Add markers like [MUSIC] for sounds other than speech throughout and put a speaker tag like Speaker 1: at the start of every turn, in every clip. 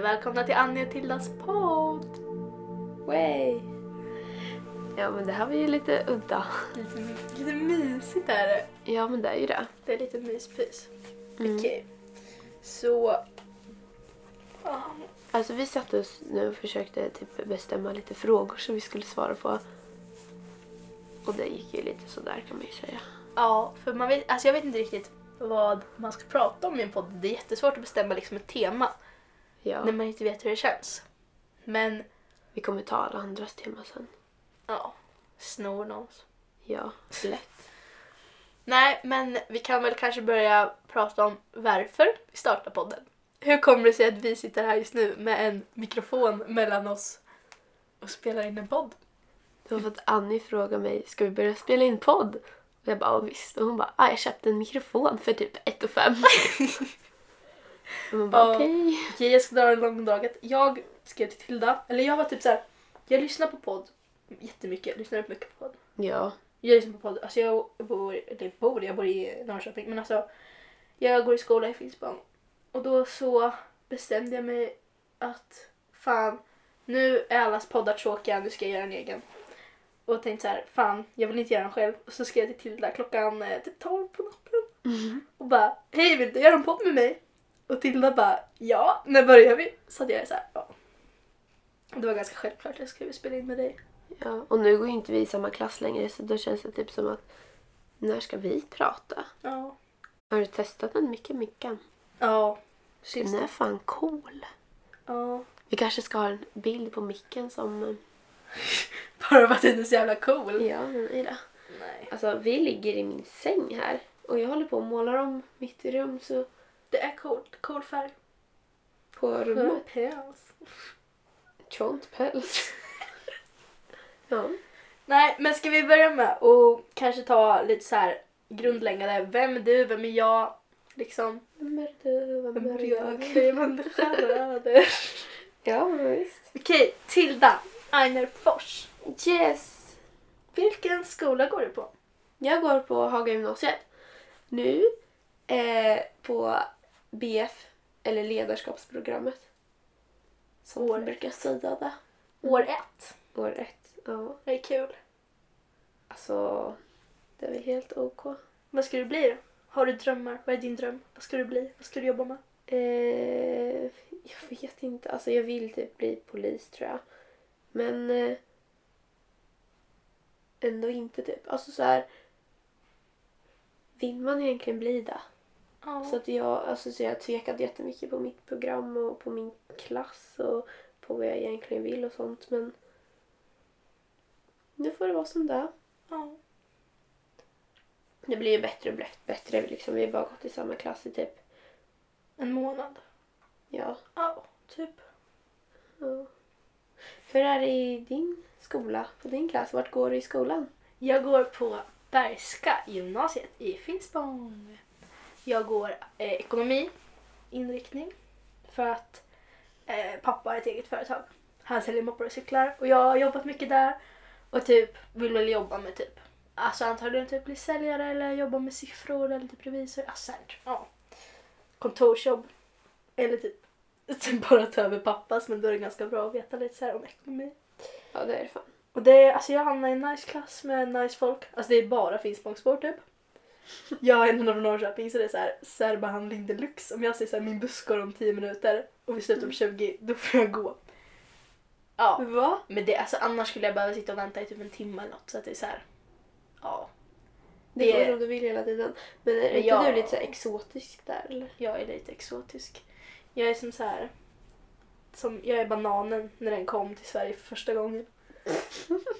Speaker 1: välkomna till Annie och Tildas podd! Way.
Speaker 2: Ja men det här var ju lite udda.
Speaker 1: Lite, lite mysigt är det.
Speaker 2: Ja men det är ju det.
Speaker 1: Det är lite myspys.
Speaker 2: Mm.
Speaker 1: Okej. Så... Ja.
Speaker 2: Alltså vi satte oss nu och försökte typ bestämma lite frågor som vi skulle svara på. Och det gick ju lite sådär kan man ju säga.
Speaker 1: Ja, för man vet, alltså jag vet inte riktigt vad man ska prata om i en podd. Det är jättesvårt att bestämma liksom ett tema
Speaker 2: Ja.
Speaker 1: när man inte vet hur det känns. Men
Speaker 2: Vi kommer ta alla andras tema sen.
Speaker 1: ja, snor någons.
Speaker 2: Ja, lätt.
Speaker 1: Nej, men vi kan väl kanske börja prata om varför vi startar podden. Hur kommer det sig att vi sitter här just nu med en mikrofon mellan oss och spelar in en podd?
Speaker 2: Det var för att Annie frågade mig, ska vi börja spela in podd? Och jag bara, "Ja, visst. Och hon bara, ah, jag köpte en mikrofon för typ 1 och 5. och man bara,
Speaker 1: Ja.
Speaker 2: okej.
Speaker 1: Okej, jag ska dra en lång dag. Jag skrev till Tilda, eller jag var typ så här. jag lyssnar på podd jättemycket, jag lyssnar upp mycket på podd.
Speaker 2: Ja.
Speaker 1: Jag lyssnar på podd, alltså jag bor, eller bor, jag bor i Norrköping men alltså jag går i skola i Finspång och då så bestämde jag mig att fan nu är allas poddar tråkiga, nu ska jag göra en egen. Och tänkte så här, fan jag vill inte göra en själv och så skrev jag till Tilda klockan eh, typ 12 på natten och bara hej vill du göra en podd med mig? Och Tilda bara ja, när börjar vi? Så att jag är så här, ja. Det var ganska självklart jag skulle spela in med dig.
Speaker 2: ja. Och nu går ju inte vi i samma klass längre så då känns det typ som att, när ska vi prata?
Speaker 1: Ja.
Speaker 2: Har du testat den mycket mycket?
Speaker 1: Ja.
Speaker 2: Den
Speaker 1: Syns
Speaker 2: är fan cool.
Speaker 1: Ja.
Speaker 2: Vi kanske ska ha en bild på micken som... eh,
Speaker 1: Bara för att den är så jävla cool.
Speaker 2: Ja, den är det.
Speaker 1: Nej.
Speaker 2: Alltså, vi ligger i min säng här och jag håller på och målar om mitt rum så
Speaker 1: Det är coolt. Cool
Speaker 2: Mm.
Speaker 1: färg.
Speaker 2: på rummet.
Speaker 1: Päls.
Speaker 2: Tjont [LAUGHS] päls. ja.
Speaker 1: Nej, men ska vi börja med och kanske ta lite så här grundläggande. Vem är du? Vem är jag? Liksom.
Speaker 2: Vem är du? Vem är jag?
Speaker 1: Okej, men det här är
Speaker 2: [LAUGHS]
Speaker 1: det.
Speaker 2: Ja, men visst.
Speaker 1: Okej, Tilda Einerfors.
Speaker 2: Yes!
Speaker 1: Vilken skola går du
Speaker 2: Mm.
Speaker 1: på?
Speaker 2: Jag går på Haga gymnasiet nu eh, på BF, eller ledarskapsprogrammet. Som
Speaker 1: År.
Speaker 2: man brukar säga det.
Speaker 1: År ett.
Speaker 2: År ett. Ja.
Speaker 1: Det är kul.
Speaker 2: Alltså, det är väl helt OK.
Speaker 1: Vad ska du bli då? Har du drömmar? Vad är din dröm? Vad ska du bli? Vad ska du jobba med?
Speaker 2: Eh, jag vet inte. Alltså jag vill typ bli polis tror jag. Men eh, ändå inte typ. Alltså så här. Vill man egentligen bli det?
Speaker 1: Ja.
Speaker 2: Så, att jag, alltså, så jag tvekade jättemycket på mitt program och på min klass och på vad jag egentligen vill och sånt. Men nu får det vara som det är.
Speaker 1: ja.
Speaker 2: Det blir ju bättre och blä- bättre. Liksom. Vi har bara gått i samma klass i typ,
Speaker 1: En månad.
Speaker 2: ja.
Speaker 1: Ja, typ.
Speaker 2: ja. Hur är det i din skola, på din klass? Vart går du i skolan?
Speaker 1: Jag går på Bergska gymnasiet i Finspång. Jag går eh, ekonomi, inriktning, för att eh, pappa har ett eget företag. Han säljer moppar och cyklar och jag har jobbat mycket där och typ vill väl jobba med typ, alltså antagligen typ bli säljare eller jobba med siffror eller typ revisor, alltså sånt. ja. Kontorsjobb eller typ [LAUGHS] typ bara ta över pappas men då är det ganska bra att veta lite så här om ekonomi.
Speaker 2: Ja, det är det fan.
Speaker 1: Och det är, alltså jag hamnar i en nice klass med nice folk. Alltså det är bara Finspångsbor typ. Jag är en från Norrköping så det är så här, särbehandling deluxe. Om jag säger så här, min buss går om 10 minuter och vi slutar om 20, då får jag gå. Ja.
Speaker 2: Va?
Speaker 1: Men det, alltså annars skulle jag behöva sitta och vänta i typ en timme eller något så att det är så här. Ja.
Speaker 2: Det
Speaker 1: Det-
Speaker 2: går som du vill hela tiden. Men är inte
Speaker 1: Ja.
Speaker 2: du lite så här exotisk där eller?
Speaker 1: Jag är lite exotisk. Jag är som så här. Som, jag är bananen när den kom till Sverige för första gången.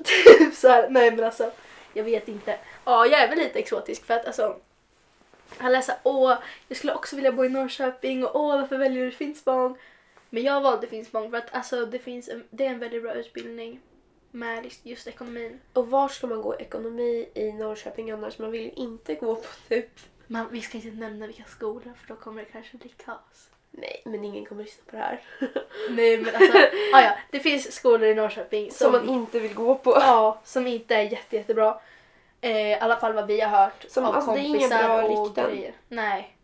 Speaker 1: typ så här, nej men alltså. Jag vet inte. Ja, jag är väl lite exotisk för att alltså. Alla är så här, åh, jag skulle också vilja bo i Norrköping och åh, varför väljer du Finspång? Men jag valde Finspång för att alltså det finns, en, det är en väldigt bra utbildning med just- just ekonomin.
Speaker 2: Och var ska man gå ekonomi i Norrköping annars? Man vill ju inte gå på typ...
Speaker 1: Man, vi ska inte nämna vilka skolor för då kommer det kanske bli kaos.
Speaker 2: Nej, men ingen kommer lyssna på det här.
Speaker 1: [LAUGHS] Nej men alltså, ah, ja, det finns skolor i Norrköping som,
Speaker 2: [LAUGHS] Som man inte vill gå på.
Speaker 1: ja, som inte är jätte, jättebra. Eh, I alla fall vad vi har hört
Speaker 2: Som-
Speaker 1: av
Speaker 2: alltså, det är inga
Speaker 1: kompisar
Speaker 2: bra
Speaker 1: och
Speaker 2: rykten.
Speaker 1: grejer. Nej.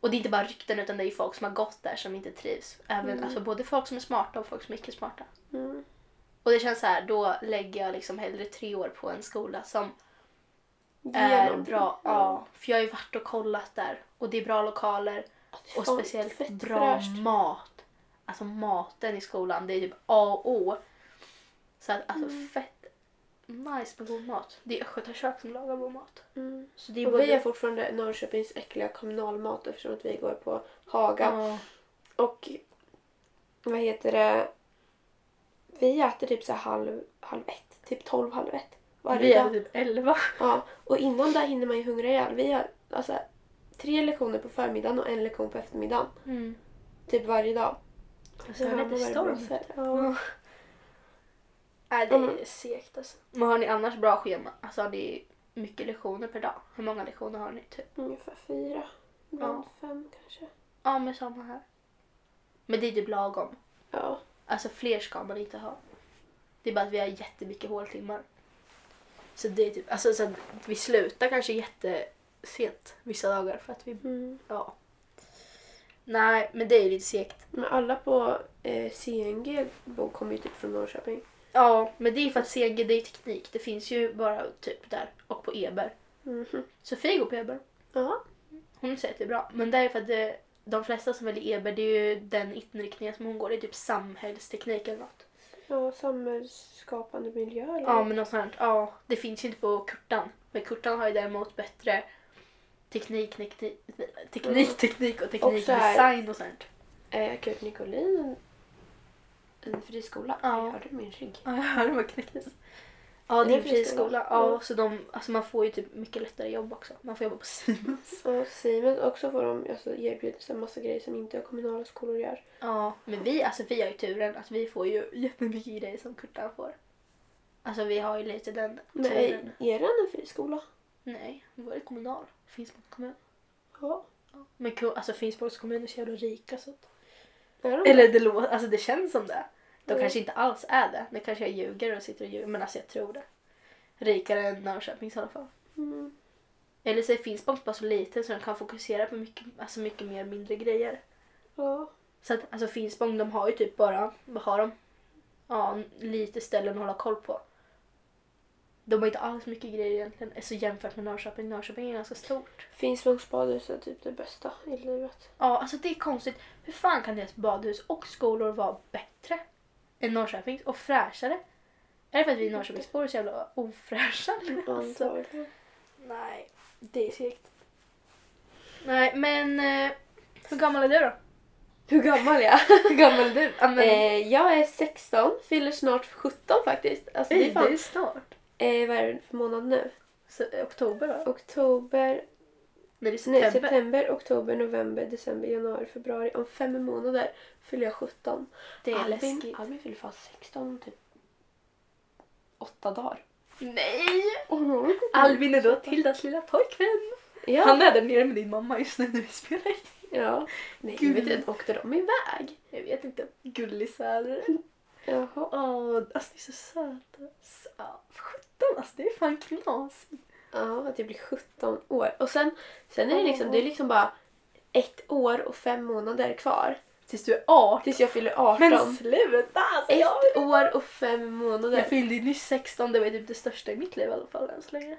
Speaker 1: Och det är inte bara rykten utan det är ju folk som har gått där som inte trivs. Även,
Speaker 2: Mm.
Speaker 1: alltså, både folk som är smarta och folk som är icke smarta.
Speaker 2: Mm.
Speaker 1: Och det känns så här, då lägger jag liksom hellre tre år på en skola som är
Speaker 2: Genom-
Speaker 1: bra. Ja, för jag har ju varit och kollat där och det är bra lokaler och
Speaker 2: Fan,
Speaker 1: speciellt
Speaker 2: fett
Speaker 1: bra
Speaker 2: fräscht.
Speaker 1: mat. Alltså maten i skolan, det är typ A och O. Så att alltså
Speaker 2: Mm.
Speaker 1: fett nice med god mat. Det är Östgöta kök som lagar god mat.
Speaker 2: Mm.
Speaker 1: Så det är
Speaker 2: Och
Speaker 1: både...
Speaker 2: vi har fortfarande Norrköpings äckliga kommunalmat eftersom att vi går på Haga.
Speaker 1: Ja.
Speaker 2: Och vad heter det? Vi äter typ så här halv, halv ett, typ tolv, halv ett varje
Speaker 1: Vi är
Speaker 2: dag.
Speaker 1: typ 11.
Speaker 2: Ja, och innan där hinner man ju hungra ihjäl. Vi har alltså, tre lektioner på förmiddagen och en lektion på eftermiddagen.
Speaker 1: Mm.
Speaker 2: Typ varje dag.
Speaker 1: Så det är lite storm.
Speaker 2: Ja.
Speaker 1: Nej, det är
Speaker 2: Mm.
Speaker 1: segt alltså. Men har ni annars bra schema? Alltså har ni mycket lektioner per dag? Hur många lektioner har ni typ?
Speaker 2: Ungefär fyra, ibland fem kanske.
Speaker 1: Ja, men samma här. Men det är typ lagom.
Speaker 2: Ja.
Speaker 1: Alltså fler ska man inte ha. Det är bara att vi har jättemycket håltimmar. Så det är typ, alltså så att vi slutar kanske jättesent vissa dagar för att vi,
Speaker 2: Mm.
Speaker 1: ja. Nej, men det är lite segt.
Speaker 2: Men alla på eh, CNG bor- kommer ju typ från Norrköping.
Speaker 1: Ja, men det är för att CG det är teknik. Det finns ju bara typ där och på Eber.
Speaker 2: Mhm.
Speaker 1: Sofie går på Eber.
Speaker 2: Ja.
Speaker 1: Hon säger att det är bra, men det är för att det, de flesta som väljer Eber det är ju den inriktningen som hon går i, typ samhällsteknik eller något.
Speaker 2: ja, samhällsskapande miljö eller?
Speaker 1: Ja, men något sånt. Ja, det finns ju inte på Kurtan. Men Kurtan har ju däremot bättre teknik, teknik, teknik, teknik och
Speaker 2: Och så här-
Speaker 1: teknikdesign och sånt.
Speaker 2: Eh, Kurt Nicolin, en, en friskola.
Speaker 1: Ja.
Speaker 2: Jag hörde min rygg.
Speaker 1: Ja, jag hörde vad knäcktes. Ja, det är en friskola. Ja, så de, alltså man får ju typ mycket lättare jobb också. Man får jobba på [LAUGHS] Siemens.
Speaker 2: Och Siemens också får de alltså, erbjuds en massa grejer som inte kommunala skolor gör.
Speaker 1: Ja, men vi, alltså vi har ju turen att vi får ju jättemycket grejer som Kurtan får. Alltså vi har ju lite den
Speaker 2: Men
Speaker 1: turen.
Speaker 2: är, är den en friskola?
Speaker 1: Nej, hon var ju kommunal. Finnsborgs kommun.
Speaker 2: Ja.
Speaker 1: Men ko- alltså Finnsborgs kommun är så jävla rika så att...
Speaker 2: Är de
Speaker 1: Eller det låter, alltså det känns som det. De
Speaker 2: Mm.
Speaker 1: kanske inte alls är det. Nu kanske jag ljuger och sitter och ljuger men alltså jag tror det. Rikare än Norrköpings i alla fall.
Speaker 2: Mm.
Speaker 1: Eller så är Finnsborgs bara så liten så de kan fokusera på mycket, alltså mycket mer mindre grejer.
Speaker 2: Ja.
Speaker 1: Så att alltså Finspång de har ju typ bara, vad har de? Ja, lite ställen att hålla koll på. De har inte alls mycket grejer egentligen alltså jämfört med Norrköping. Norrköping är ganska stort.
Speaker 2: Finspångs badhus är typ det bästa i livet.
Speaker 1: Ja, alltså det är konstigt. Hur fan kan deras badhus och skolor vara bättre än Norrköpings och fräschare? Är det för att vi Norrköpingsbor är så jävla ofräscha? Alltså,
Speaker 2: Antagligen.
Speaker 1: nej, det är segt. Nej, men eh, hur gammal är du då?
Speaker 2: [LAUGHS] Hur gammal är jag?
Speaker 1: Hur gammal är du? Ja, men,
Speaker 2: Eh, jag är 16, fyller snart 17 faktiskt. Alltså, det är fan,
Speaker 1: ju snart.
Speaker 2: eh, vad är det för månad nu?
Speaker 1: Så, eh, oktober va?
Speaker 2: Oktober,
Speaker 1: Nej, det är september.
Speaker 2: nej, september, oktober, november, december, januari, februari. Om fem månader fyller jag 17.
Speaker 1: Det är
Speaker 2: Albin,
Speaker 1: läskigt.
Speaker 2: Albin fyller fan 16 typ åtta [LAUGHS] dagar.
Speaker 1: Nej!
Speaker 2: Oh,
Speaker 1: Albin är då Tildas lilla pojkvän.
Speaker 2: ja.
Speaker 1: Han är där nere med din mamma just nu när vi spelar in.
Speaker 2: ja. Nej,
Speaker 1: Gud.
Speaker 2: vet du, åkte de iväg?
Speaker 1: Jag vet inte. Mm. Gullisar.
Speaker 2: Jaha.
Speaker 1: Åh, alltså ni är så söta. Så, 17, alltså det är fan knasigt.
Speaker 2: Ja, att jag blir 17 år. Och sen, sen är det liksom, det är liksom bara ett år och fem månader kvar.
Speaker 1: Tills du är 18.
Speaker 2: Tills jag fyller 18.
Speaker 1: Men sluta! Alltså, jag,
Speaker 2: Ett år och fem månader.
Speaker 1: jag fyllde ju nyss 16, det var ju typ det största i mitt liv i alla fall än så länge.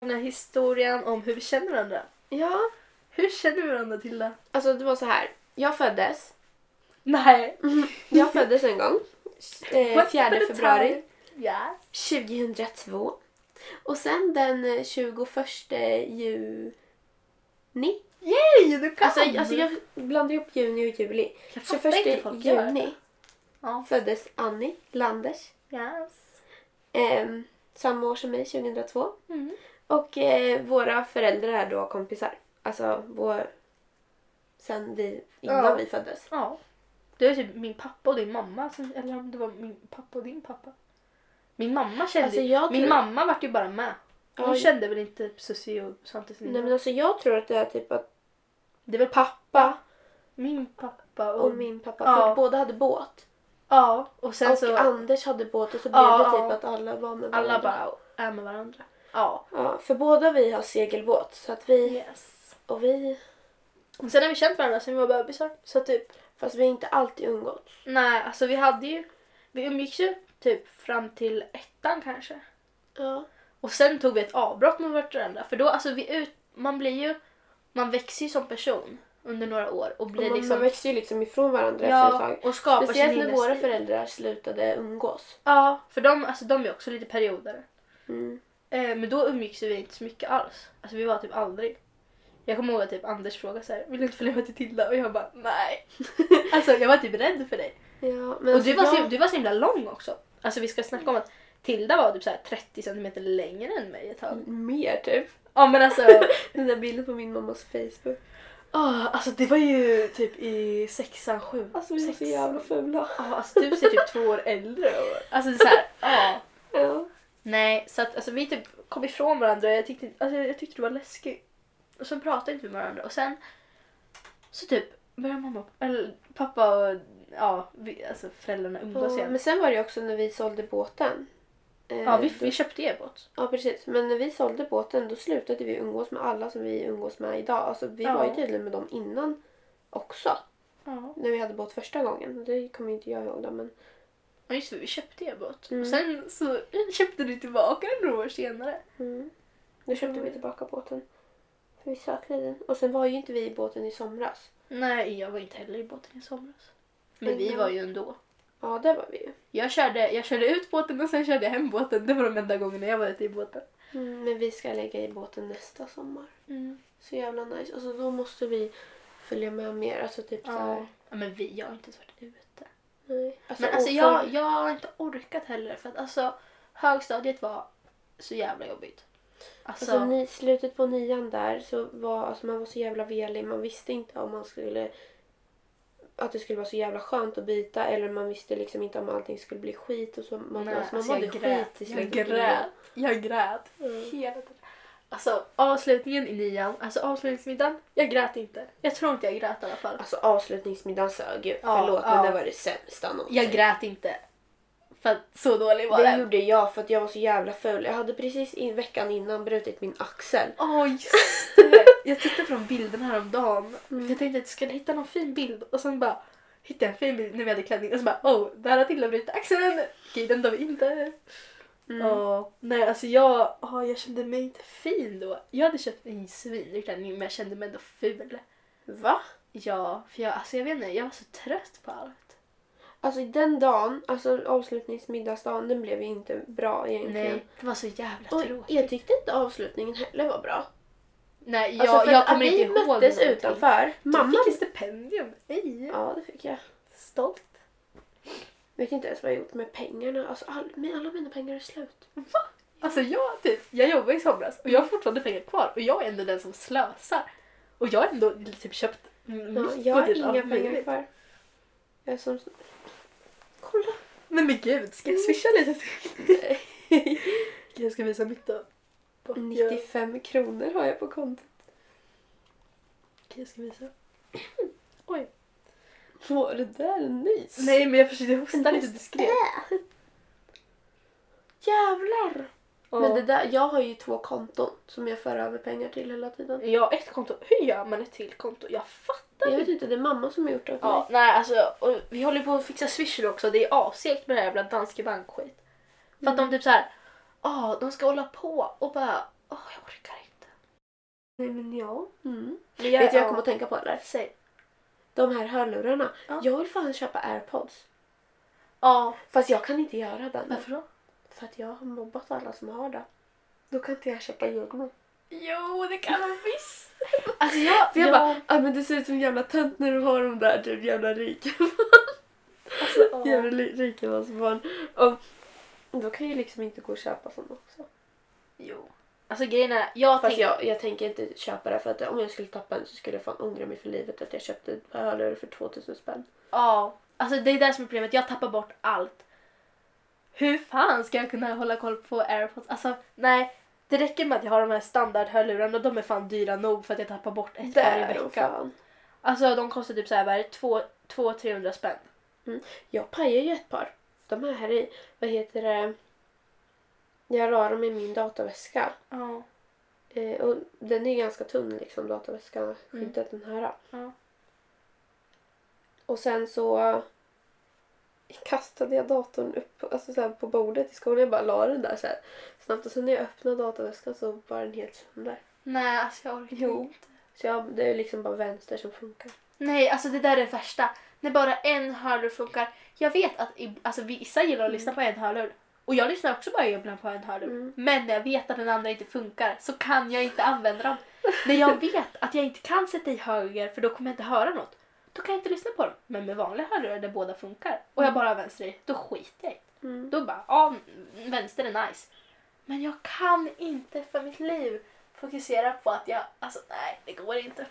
Speaker 1: Den här historien om hur vi känner varandra.
Speaker 2: Ja,
Speaker 1: Hur känner vi varandra Tilda?
Speaker 2: alltså det var så här. Jag föddes.
Speaker 1: Nej.
Speaker 2: Jag föddes en gång. Eh,
Speaker 1: What's
Speaker 2: 4
Speaker 1: the
Speaker 2: februari
Speaker 1: time? Yes.
Speaker 2: 2002. Och sen den eh, 21 juni.
Speaker 1: Hej, du kan!
Speaker 2: Alltså, alltså jag blandar ihop juni och juli.
Speaker 1: Jag fattar
Speaker 2: 21
Speaker 1: inte folk gör det.
Speaker 2: juni
Speaker 1: Ja.
Speaker 2: föddes Annie Landers.
Speaker 1: Yes.
Speaker 2: ehm, samma år som mig, 2002.
Speaker 1: Mm.
Speaker 2: Och eh, våra föräldrar är då kompisar. Alltså vår... Sen vi, innan
Speaker 1: Ja.
Speaker 2: vi föddes.
Speaker 1: Ja. Det är typ min pappa och din mamma. som- Eller om det var min pappa och din pappa. Min mamma kände
Speaker 2: Alltså,
Speaker 1: ju-
Speaker 2: jag
Speaker 1: Min
Speaker 2: tror-
Speaker 1: mamma vart ju bara med. Hon
Speaker 2: Ja, jag-
Speaker 1: kände väl inte Susie och Svante sin
Speaker 2: Nej men alltså jag tror att det är typ att
Speaker 1: Det är väl pappa,
Speaker 2: pappa
Speaker 1: min pappa och...
Speaker 2: och min pappa,
Speaker 1: Mm. Ja.
Speaker 2: för att båda hade båt.
Speaker 1: Ja, och sen
Speaker 2: och
Speaker 1: så
Speaker 2: Anders hade båt och så blev
Speaker 1: Ja,
Speaker 2: det typ
Speaker 1: ja.
Speaker 2: att alla var med
Speaker 1: alla
Speaker 2: varandra.
Speaker 1: bara är med varandra. Ja.
Speaker 2: Ja, för båda vi har segelbåt så att vi,
Speaker 1: Yes.
Speaker 2: och vi,
Speaker 1: Och sen har vi känt varandra sen vi var bebisar. Så typ,
Speaker 2: fast vi har inte alltid umgåtts.
Speaker 1: nej alltså vi hade ju, vi umgicks ju typ fram till ettan kanske.
Speaker 2: Ja.
Speaker 1: Och sen tog vi ett avbrott mot varandra för då alltså vi ut, man blir ju, man växer ju som person under några år och
Speaker 2: Och
Speaker 1: blir
Speaker 2: man, man
Speaker 1: liksom,
Speaker 2: växer ju liksom ifrån varandra efter ett
Speaker 1: ja
Speaker 2: tag.
Speaker 1: och skapar
Speaker 2: Speciellt
Speaker 1: sin
Speaker 2: när
Speaker 1: inre
Speaker 2: våra
Speaker 1: stil.
Speaker 2: föräldrar slutade umgås.
Speaker 1: Ja, för de, alltså, de är också lite perioder.
Speaker 2: Mm.
Speaker 1: Eh, men då umgicks vi inte så mycket alls. Alltså vi var typ aldrig. Jag kommer ihåg att typ Anders frågade så här, vill du inte följa med till Tilda? Och jag bara nej.
Speaker 2: [LAUGHS]
Speaker 1: alltså jag var typ rädd för dig.
Speaker 2: Ja, men
Speaker 1: Och du var, så,
Speaker 2: Alltså, jag,
Speaker 1: du var så himla lång också. Alltså vi ska snacka om att Tilda var typ så här 30 cm längre än mig ett tag.
Speaker 2: mer typ.
Speaker 1: Ja men alltså,
Speaker 2: [LAUGHS] Den där bilden på min mammas Facebook.
Speaker 1: åh, alltså det var ju typ i sexan, sjuan.
Speaker 2: Alltså vi är så jävla fula.
Speaker 1: Ja, alltså du ser typ två år äldre och, Alltså det är så här, ja.
Speaker 2: Ja.
Speaker 1: Nej, så att alltså, vi typ kom ifrån varandra och jag tyckte, alltså, jag tyckte det var läskigt. Och så pratade inte vi med varandra och sen så typ började mamma, eller pappa och ja, vi, alltså föräldrarna umgås
Speaker 2: Ja,
Speaker 1: igen.
Speaker 2: men sen var det ju också när vi sålde båten. Eh,
Speaker 1: ja, vi,
Speaker 2: då-
Speaker 1: vi köpte er båt.
Speaker 2: ja, precis. Men när vi sålde båten då slutade vi umgås med alla som vi umgås med idag. Alltså vi
Speaker 1: Ja.
Speaker 2: var ju tydligen med dem innan också.
Speaker 1: Ja.
Speaker 2: När vi hade båt första gången. Det kommer inte jag ihåg då men.
Speaker 1: ja, just det, vi köpte er båt.
Speaker 2: Mm.
Speaker 1: Och sen så [LAUGHS] köpte du tillbaka den några år senare.
Speaker 2: Mm. Då köpte vi tillbaka båten. För vi saknade den. Och sen var ju inte vi i båten i somras.
Speaker 1: Nej, jag var inte heller i båten i somras. Men vi
Speaker 2: Mm.
Speaker 1: var ju ändå.
Speaker 2: Ja, där var vi ju.
Speaker 1: Jag körde, jag körde ut båten och sen körde jag hem båten. Det var de enda gångerna jag var ute i båten.
Speaker 2: Mm, men vi ska lägga i båten nästa sommar.
Speaker 1: Mm.
Speaker 2: Så jävla nice. Alltså då måste vi följa med mer. Alltså typ så
Speaker 1: Ja.
Speaker 2: här.
Speaker 1: ja, men vi, jag har inte ens varit ute.
Speaker 2: Nej. Alltså,
Speaker 1: Men alltså
Speaker 2: och
Speaker 1: jag,
Speaker 2: för-
Speaker 1: jag har inte orkat heller för att alltså högstadiet var så jävla jobbigt. Alltså,
Speaker 2: Alltså, ni, slutet på nian där så var alltså, man var så jävla velig. Man visste inte om man skulle att det skulle vara så jävla skönt att byta eller man visste liksom inte om allting skulle bli skit och så. Man,
Speaker 1: nej,
Speaker 2: alltså, man
Speaker 1: alltså,
Speaker 2: mådde
Speaker 1: jag grät.
Speaker 2: skit i Mm.
Speaker 1: Jag
Speaker 2: slutet på nian.
Speaker 1: grät. Jag grät. Hela tiden. Alltså avslutningen i nian, alltså avslutningsmiddagen, jag grät inte. Jag tror inte jag grät i alla fall.
Speaker 2: Alltså avslutningsmiddagen sög ju.
Speaker 1: Ja,
Speaker 2: Förlåt
Speaker 1: ja.
Speaker 2: men det var det sämsta någonsin.
Speaker 1: Jag grät inte. För att så dålig var
Speaker 2: Det
Speaker 1: den.
Speaker 2: gjorde jag för att jag var så jävla ful. Jag hade precis i veckan innan brutit min axel.
Speaker 1: Åh just det! Jag tittade på de bilderna häromdagen. Mm. Jag tänkte att jag skulle hitta någon fin bild och sen bara hittade jag en fin bild när vi hade klänning och så bara oh, där har Tilda brutit axeln. Okej, den tar vi inte.
Speaker 2: Mm.
Speaker 1: Åh, nej alltså jag, åh, jag kände mig inte fin då. Jag hade köpt en svindyr klänning men jag kände mig ändå ful.
Speaker 2: Va?
Speaker 1: Ja, för jag, alltså jag vet inte, jag var så trött på allt.
Speaker 2: Alltså den dagen, alltså avslutningsmiddagsdagen, den blev ju inte bra egentligen.
Speaker 1: Nej, det var så jävla
Speaker 2: Och
Speaker 1: tråkigt.
Speaker 2: jag tyckte inte avslutningen heller var bra.
Speaker 1: Nej, jag,
Speaker 2: Alltså, för
Speaker 1: jag
Speaker 2: att
Speaker 1: kommer inte
Speaker 2: vi
Speaker 1: ihåg
Speaker 2: möttes
Speaker 1: någonting.
Speaker 2: utanför.
Speaker 1: Du
Speaker 2: Mamma...
Speaker 1: fick ett stipendium. Hej!
Speaker 2: Ja, det fick jag.
Speaker 1: Stolt.
Speaker 2: Vet inte ens vad jag gjort med pengarna. Alltså all... men alla mina pengar är slut.
Speaker 1: Alltså jag, typ, jag jobbar i somras och jag
Speaker 2: Mm.
Speaker 1: har fortfarande pengar kvar och jag är ändå den som slösar. Och jag har ändå typ köpt mm,
Speaker 2: Ja,
Speaker 1: mitt
Speaker 2: jag har
Speaker 1: budget av
Speaker 2: inga pengar
Speaker 1: möjligt.
Speaker 2: kvar. Jag är som... Kolla!
Speaker 1: Nej men gud, ska jag swisha
Speaker 2: Mm.
Speaker 1: lite till?
Speaker 2: [LAUGHS]
Speaker 1: Jag ska visa mitt då. Bort-
Speaker 2: Mm,
Speaker 1: jag-
Speaker 2: 95 kronor har jag på kontot.
Speaker 1: Okej, jag ska
Speaker 2: Mm.
Speaker 1: visa.
Speaker 2: Var det där en nys?
Speaker 1: Nej men jag försökte hosta lite diskret.
Speaker 2: Jävlar!
Speaker 1: Ja.
Speaker 2: Men det där, jag har ju två konton som jag för över pengar till hela tiden.
Speaker 1: Jag har ett konto. Hur gör man ett till konto? Jag fattar
Speaker 2: Jag vet
Speaker 1: inte.
Speaker 2: inte, det är mamma som har gjort det åt
Speaker 1: Ja,
Speaker 2: mig.
Speaker 1: nej alltså och vi håller på att fixa swish nu också. Det är assegt med det här jävla Danske Bank-skit. För
Speaker 2: Mm.
Speaker 1: att de typ såhär, ja de ska hålla på och bara, åh jag orkar inte.
Speaker 2: Nej men ja. Mm.
Speaker 1: Men
Speaker 2: Vet du vad
Speaker 1: ja.
Speaker 2: jag kommer att tänka på där?
Speaker 1: Säg.
Speaker 2: De här hörlurarna.
Speaker 1: Ja.
Speaker 2: Jag vill fan köpa airpods.
Speaker 1: Ja,
Speaker 2: Fast jag kan inte göra den.
Speaker 1: varför då?
Speaker 2: För att jag har mobbat alla som har det. Då kan inte jag köpa egna.
Speaker 1: Jo, det kan man visst. Alltså jag,
Speaker 2: För jag
Speaker 1: jag
Speaker 2: bara, ah, men du ser ut som en jävla tönt när du har de där typ jävla rika,
Speaker 1: alltså,
Speaker 2: [LAUGHS] jävla li- rikemansbarn. Och då kan jag liksom inte gå och köpa sådana också.
Speaker 1: jo. Alltså grejen är, jag
Speaker 2: Fast
Speaker 1: tänkte,
Speaker 2: jag, jag tänker inte köpa det för att om jag skulle tappa den så skulle jag fan ångra mig för livet att jag köpte ett par hörlurar för 2000 spänn.
Speaker 1: ja. Alltså det är det som är problemet, jag tappar bort allt. Hur fan ska jag kunna hålla koll på airpods? Alltså nej, det räcker med att jag har de här standardhörlurarna och de är fan dyra nog för att jag tappar bort ett
Speaker 2: Det
Speaker 1: par
Speaker 2: är
Speaker 1: i
Speaker 2: de
Speaker 1: veckan.
Speaker 2: fan.
Speaker 1: Alltså de kostar typ såhär, vad är det? Två- två 300 spänn.
Speaker 2: Jag pajade ju ett par. De här i, vad heter det, Jag la dem i min dataväska.
Speaker 1: Ja.
Speaker 2: Eh, och den är ganska tunn liksom dataväskan, skyddat den här.
Speaker 1: Ja.
Speaker 2: Och sen så kastade jag datorn upp alltså så här, på bordet i skolan. Jag bara la den där så här, snabbt och sen när jag öppnade dataväskan så var den helt sönder.
Speaker 1: Nej, alltså jag orkar
Speaker 2: Jo.
Speaker 1: inte.
Speaker 2: Så jag, det är liksom bara vänster som funkar.
Speaker 1: Nej, alltså det där är det värsta. När bara en hörlur funkar. Jag vet att i- alltså, vissa gillar att lyssna på en hörlur. Och jag lyssnar också bara ibland på en hörlur.
Speaker 2: Mm.
Speaker 1: Men när jag vet att den andra inte funkar så kan jag inte använda dem. när jag vet att jag inte kan sätta i höger för då kommer jag inte höra något. Då kan jag inte lyssna på dem. Men med vanliga hörlurar där båda funkar och jag bara har vänster i, då skiter jag i det.
Speaker 2: Mm.
Speaker 1: Då bara, ja, vänster är nice. Men jag kan inte för mitt liv fokusera på att jag, alltså nej, det går inte.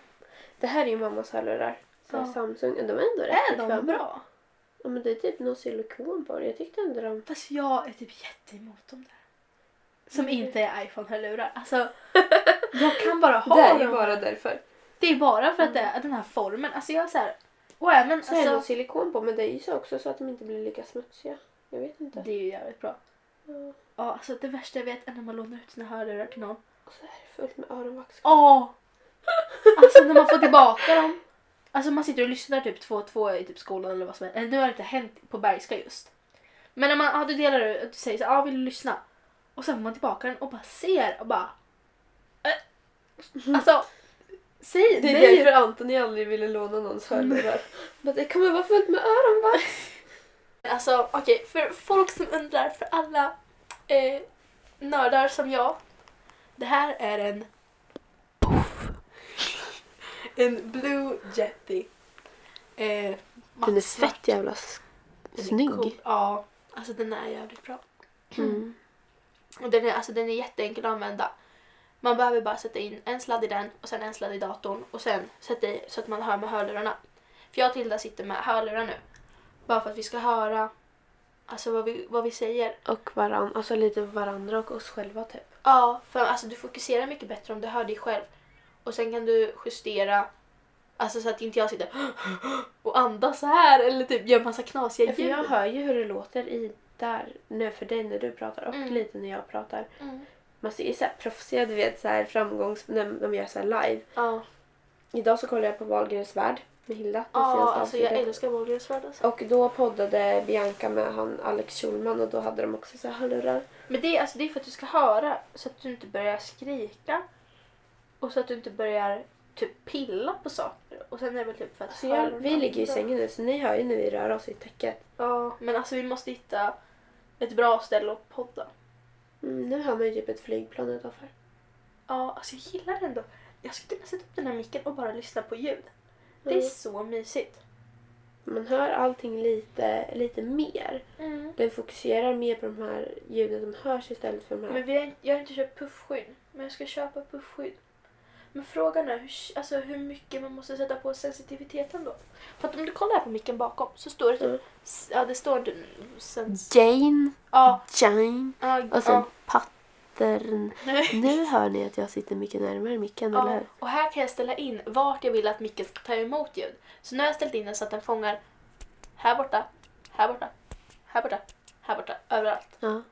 Speaker 2: Det här är ju mammas hörlurar. Så här,
Speaker 1: Ja.
Speaker 2: Samsung. De är ändå rätt
Speaker 1: Är de
Speaker 2: bekväma.
Speaker 1: bra?
Speaker 2: Ja, men det är typ någon silikon på det. Jag tyckte ändå de...
Speaker 1: Fast jag är typ jätteemot dem där. Som
Speaker 2: Mm.
Speaker 1: inte är iPhone-hörlurar.
Speaker 2: [LAUGHS]
Speaker 1: Alltså, jag kan bara ha
Speaker 2: det är ju
Speaker 1: dem.
Speaker 2: bara därför.
Speaker 1: Det är bara för att det är den här formen. Alltså jag är såhär, och även
Speaker 2: Så är det någon
Speaker 1: alltså,
Speaker 2: silikon på men det är ju så också så att de inte blir lika smutsiga. Jag vet inte.
Speaker 1: det är ju jävligt bra.
Speaker 2: Ja.
Speaker 1: Ja, alltså det värsta jag vet är när man lånar ut sina hörlurar till någon.
Speaker 2: Och så är det fullt med öronvax.
Speaker 1: Åh! Alltså när man får tillbaka dem. Alltså man sitter och lyssnar typ två och två i typ skolan eller vad som helst. Eller nu har det inte hänt på Bergska just. Men när man, ja, du delar ut, du säger så ja ah, vill du lyssna? Och sen får man tillbaka den och bara ser och bara... Äh. Alltså, säg
Speaker 2: Det är
Speaker 1: nej.
Speaker 2: därför Antoni aldrig ville låna någons hörlurar. [LAUGHS] Men det kommer vara fullt med öronvax. [LAUGHS]
Speaker 1: Alltså okej, för folk som undrar, för alla eh, nördar som jag. Det här är en En Blue Jetty. Eh,
Speaker 3: Den är
Speaker 1: mattsvart.
Speaker 3: fett jävla s-
Speaker 1: Den är
Speaker 3: snygg.
Speaker 1: cool. Ja, alltså den är jävligt bra.
Speaker 3: Mm.
Speaker 1: Och den är, alltså, den är jätteenkel att använda. Man behöver bara sätta in en sladd i den och sen en sladd i datorn och sen sätta i så att man hör med hörlurarna. För jag och Tilda sitter med hörlurar nu. Bara för att vi ska höra alltså, vad, vi, vad vi säger.
Speaker 3: Och varann, alltså lite varandra och oss själva typ.
Speaker 1: Ja, för alltså, du fokuserar mycket bättre om du hör dig själv. Och sen kan du justera alltså, så att inte jag sitter [GASPS] och andas så här eller typ gör massa knasiga
Speaker 2: För
Speaker 1: ljud.
Speaker 2: jag hör ju hur det låter i där, nu för dig när du pratar och
Speaker 1: Mm.
Speaker 2: lite när jag pratar.
Speaker 1: Mm.
Speaker 2: Man ser ju såhär proffsiga, du vet såhär framgångs... När de gör såhär live.
Speaker 1: Ja,
Speaker 2: Idag så kollade jag på Wahlgrens värld med Hilda. det
Speaker 1: ja
Speaker 2: senaste
Speaker 1: alltså jag
Speaker 2: avsnittet.
Speaker 1: älskar Wahlgrens värld alltså.
Speaker 2: Och då poddade Bianca med han Alex Schulman och då hade de också så här hörlurar.
Speaker 1: Men det, är- alltså, det är för att du ska höra så att du inte börjar skrika och så att du inte börjar typ pilla på saker. Och sen är det väl typ för att
Speaker 2: Så jag,
Speaker 1: hörlurarna-
Speaker 2: vi ligger ju i sängen nu så ni hör ju när vi rör oss i täcket.
Speaker 1: Ja, men alltså vi måste hitta ett bra ställe att podda.
Speaker 2: Mm, nu hör man ju typ ett flygplan utanför.
Speaker 1: Ja, alltså jag gillar det ändå. Jag skulle kunna sätta upp den här micken och bara lyssna på ljud. Det är
Speaker 2: Mm.
Speaker 1: så mysigt.
Speaker 2: Man hör allting lite, lite mer.
Speaker 1: Mm.
Speaker 2: Den fokuserar mer på de här ljuden som hörs istället för de här.
Speaker 1: Men vi har, inte- jag har inte köpt puffskydd, men jag ska köpa puffskydd. Men frågan är hur, alltså, hur mycket man måste sätta på sensitiviteten då. För att om du kollar här på micken bakom så står det typ...
Speaker 2: Mm.
Speaker 1: s- Ja, det står inte... Sens,
Speaker 3: Jane,
Speaker 1: ja,
Speaker 3: Jane
Speaker 1: ja,
Speaker 3: Mm. och sen
Speaker 1: ja,
Speaker 3: pattern.
Speaker 1: [LAUGHS] nej.
Speaker 3: Nu hör ni att jag sitter mycket närmare micken, eller
Speaker 1: ja.
Speaker 3: hur?
Speaker 1: Och här kan jag ställa in vart jag vill att micken ska ta emot ljud. Så nu har jag ställt in den så att den fångar här borta, här borta, här borta, här borta, överallt.
Speaker 3: Ja.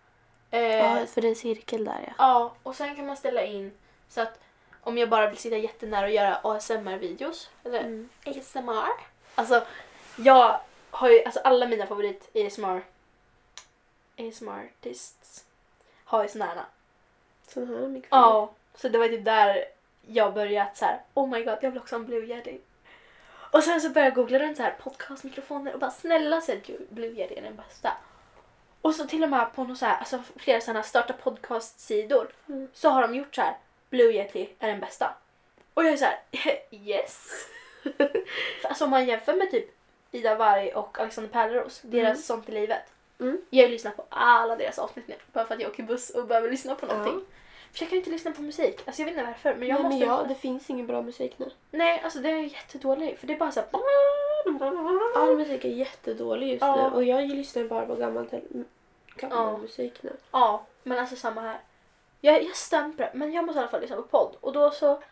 Speaker 1: Eh,
Speaker 3: ja, för det är en cirkel där ja.
Speaker 1: Ja, och sen kan man ställa in så att om jag bara vill sitta jättenära och göra ASMR-videos, eller
Speaker 2: Mm.
Speaker 3: Eh,
Speaker 1: ASMR. Alltså, jag har ju, alltså alla mina favorit ASMR, ASMR-artists har ju såna här.
Speaker 2: Sådana här mikrofoner.
Speaker 1: Ja, så det var typ där jag började att så här, oh my god, jag vill också ha en Blue Yeti. Och sen så började jag googla runt så här podcastmikrofoner och bara snälla säg att Blue Yeti är den bästa. Och så till och med på någon så här, alltså flera sådana starta podcast-sidor
Speaker 2: Mm.
Speaker 1: så har de gjort så här, Blue Yeti är den bästa. Och jag är så här, [LAUGHS]
Speaker 2: [LAUGHS]
Speaker 1: yes. För alltså om man jämför med typ Ida Warg och Alexander Pärleros, deras
Speaker 2: Mm.
Speaker 1: Sånt i livet.
Speaker 2: Mm.
Speaker 1: Jag har ju lyssnat på alla deras avsnitt nu bara för att jag åker buss och behöver lyssna på
Speaker 2: Ja.
Speaker 1: någonting. För jag kan inte lyssna på musik. Alltså jag vet inte varför. Men jag
Speaker 2: Nej,
Speaker 1: måste...
Speaker 2: men jag, det finns ingen bra musik nu.
Speaker 1: Nej, alltså det är jättedålig. För det är bara såhär...
Speaker 2: All musik är jättedålig just
Speaker 1: Ja.
Speaker 2: nu och jag lyssnar bara på gammal, te- gammal
Speaker 1: Ja.
Speaker 2: musik nu.
Speaker 1: Ja, men alltså samma här. Jag, jag stämmer på det, men jag måste i alla fall lyssna på podd. Och då så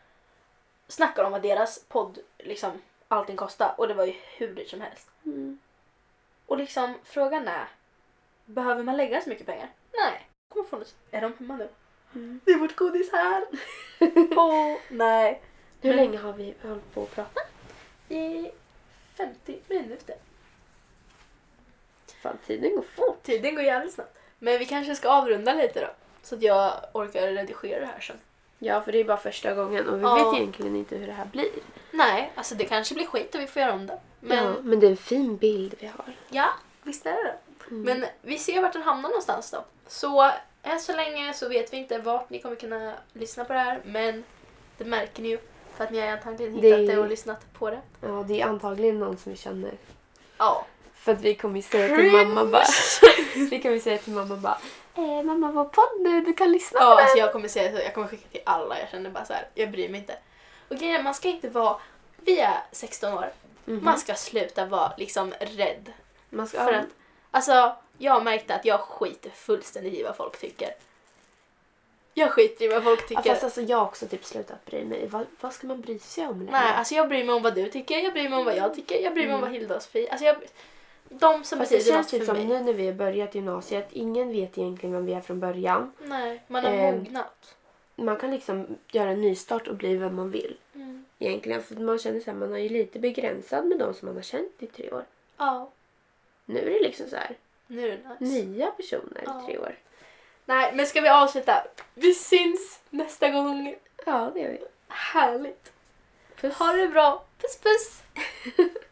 Speaker 1: snackar de om vad deras podd, liksom allting kostar. Och det var ju hur dyrt som helst.
Speaker 2: Mm.
Speaker 1: Och liksom frågan är, behöver man lägga så mycket pengar? Nej. Kommer från oss. Är de hemma nu?
Speaker 4: Mm.
Speaker 1: Det är vårt godis
Speaker 2: [LAUGHS]
Speaker 1: här! Åh, nej.
Speaker 4: Hur
Speaker 1: Men-
Speaker 4: länge har vi hållit på att prata?
Speaker 1: I 50 minuter.
Speaker 4: Fan, tiden går fort.
Speaker 1: Tiden går jävligt snabbt. Men vi kanske ska avrunda lite då. Så att jag orkar redigera det här sen.
Speaker 4: Ja, för det är bara första gången och vi
Speaker 1: Ja.
Speaker 4: vet egentligen inte hur det här blir.
Speaker 1: Nej, alltså det kanske blir skit och vi får göra om det. Men
Speaker 4: Men,
Speaker 1: ja,
Speaker 4: ja, men det är en fin bild vi har.
Speaker 1: visst är det det. Men vi ser vart den hamnar någonstans då. Så än så länge så vet vi inte vart ni kommer kunna lyssna på det här. Men det märker ni ju. För att ni har antagligen
Speaker 2: Det
Speaker 1: hittat
Speaker 2: är-
Speaker 1: det, och lyssnat på det.
Speaker 2: Ja, det är antagligen någon som vi känner.
Speaker 1: Ja.
Speaker 2: För att vi kommer ju säga till
Speaker 1: Cringe!
Speaker 2: mamma bara... [LAUGHS] vi kommer ju säga till mamma bara... Eh, mamma, var podd nu, du kan lyssna
Speaker 1: [LAUGHS]
Speaker 2: på
Speaker 1: Ja,
Speaker 2: den.
Speaker 1: alltså jag kommer säga så, jag kommer skicka till alla. Jag känner bara så här, jag bryr mig inte. Och grejen är, man ska inte vara, vi är 16 år, man ska sluta vara liksom rädd.
Speaker 2: Man ska,
Speaker 1: Mm. För att, alltså jag märkte att jag skiter fullständigt i vad folk tycker. Jag skiter i vad folk
Speaker 2: ja,
Speaker 1: tycker.
Speaker 2: fast alltså jag har också typ slutat bry mig. Vad, vad ska man bry sig om längre?
Speaker 1: Nej, alltså jag bryr mig om vad du tycker, jag bryr mig om vad jag tycker, jag bryr mig om vad Hilda och Sofie... Alltså jag, de som
Speaker 2: Mm. Fast det
Speaker 1: betyder
Speaker 2: känns
Speaker 1: något
Speaker 2: typ
Speaker 1: för
Speaker 2: som
Speaker 1: mig.
Speaker 2: nu när vi har börjat gymnasiet, ingen vet egentligen vem vi är från början.
Speaker 1: Nej, man har
Speaker 2: Ehm.
Speaker 1: mognat.
Speaker 2: Man kan liksom göra en nystart och bli vem man vill.
Speaker 1: Mm.
Speaker 2: Egentligen, för man känner att man är ju lite begränsad med de som man har känt i tre år.
Speaker 1: Ja,
Speaker 2: Nu är det liksom så här,
Speaker 1: nu är det nice.
Speaker 2: nya personer
Speaker 1: Ja.
Speaker 2: i tre år.
Speaker 1: Nej, men ska vi avsluta? Vi syns nästa gång.
Speaker 2: Ja, det gör vi.
Speaker 1: Härligt.
Speaker 2: Puss.
Speaker 1: Ha det bra. Puss puss.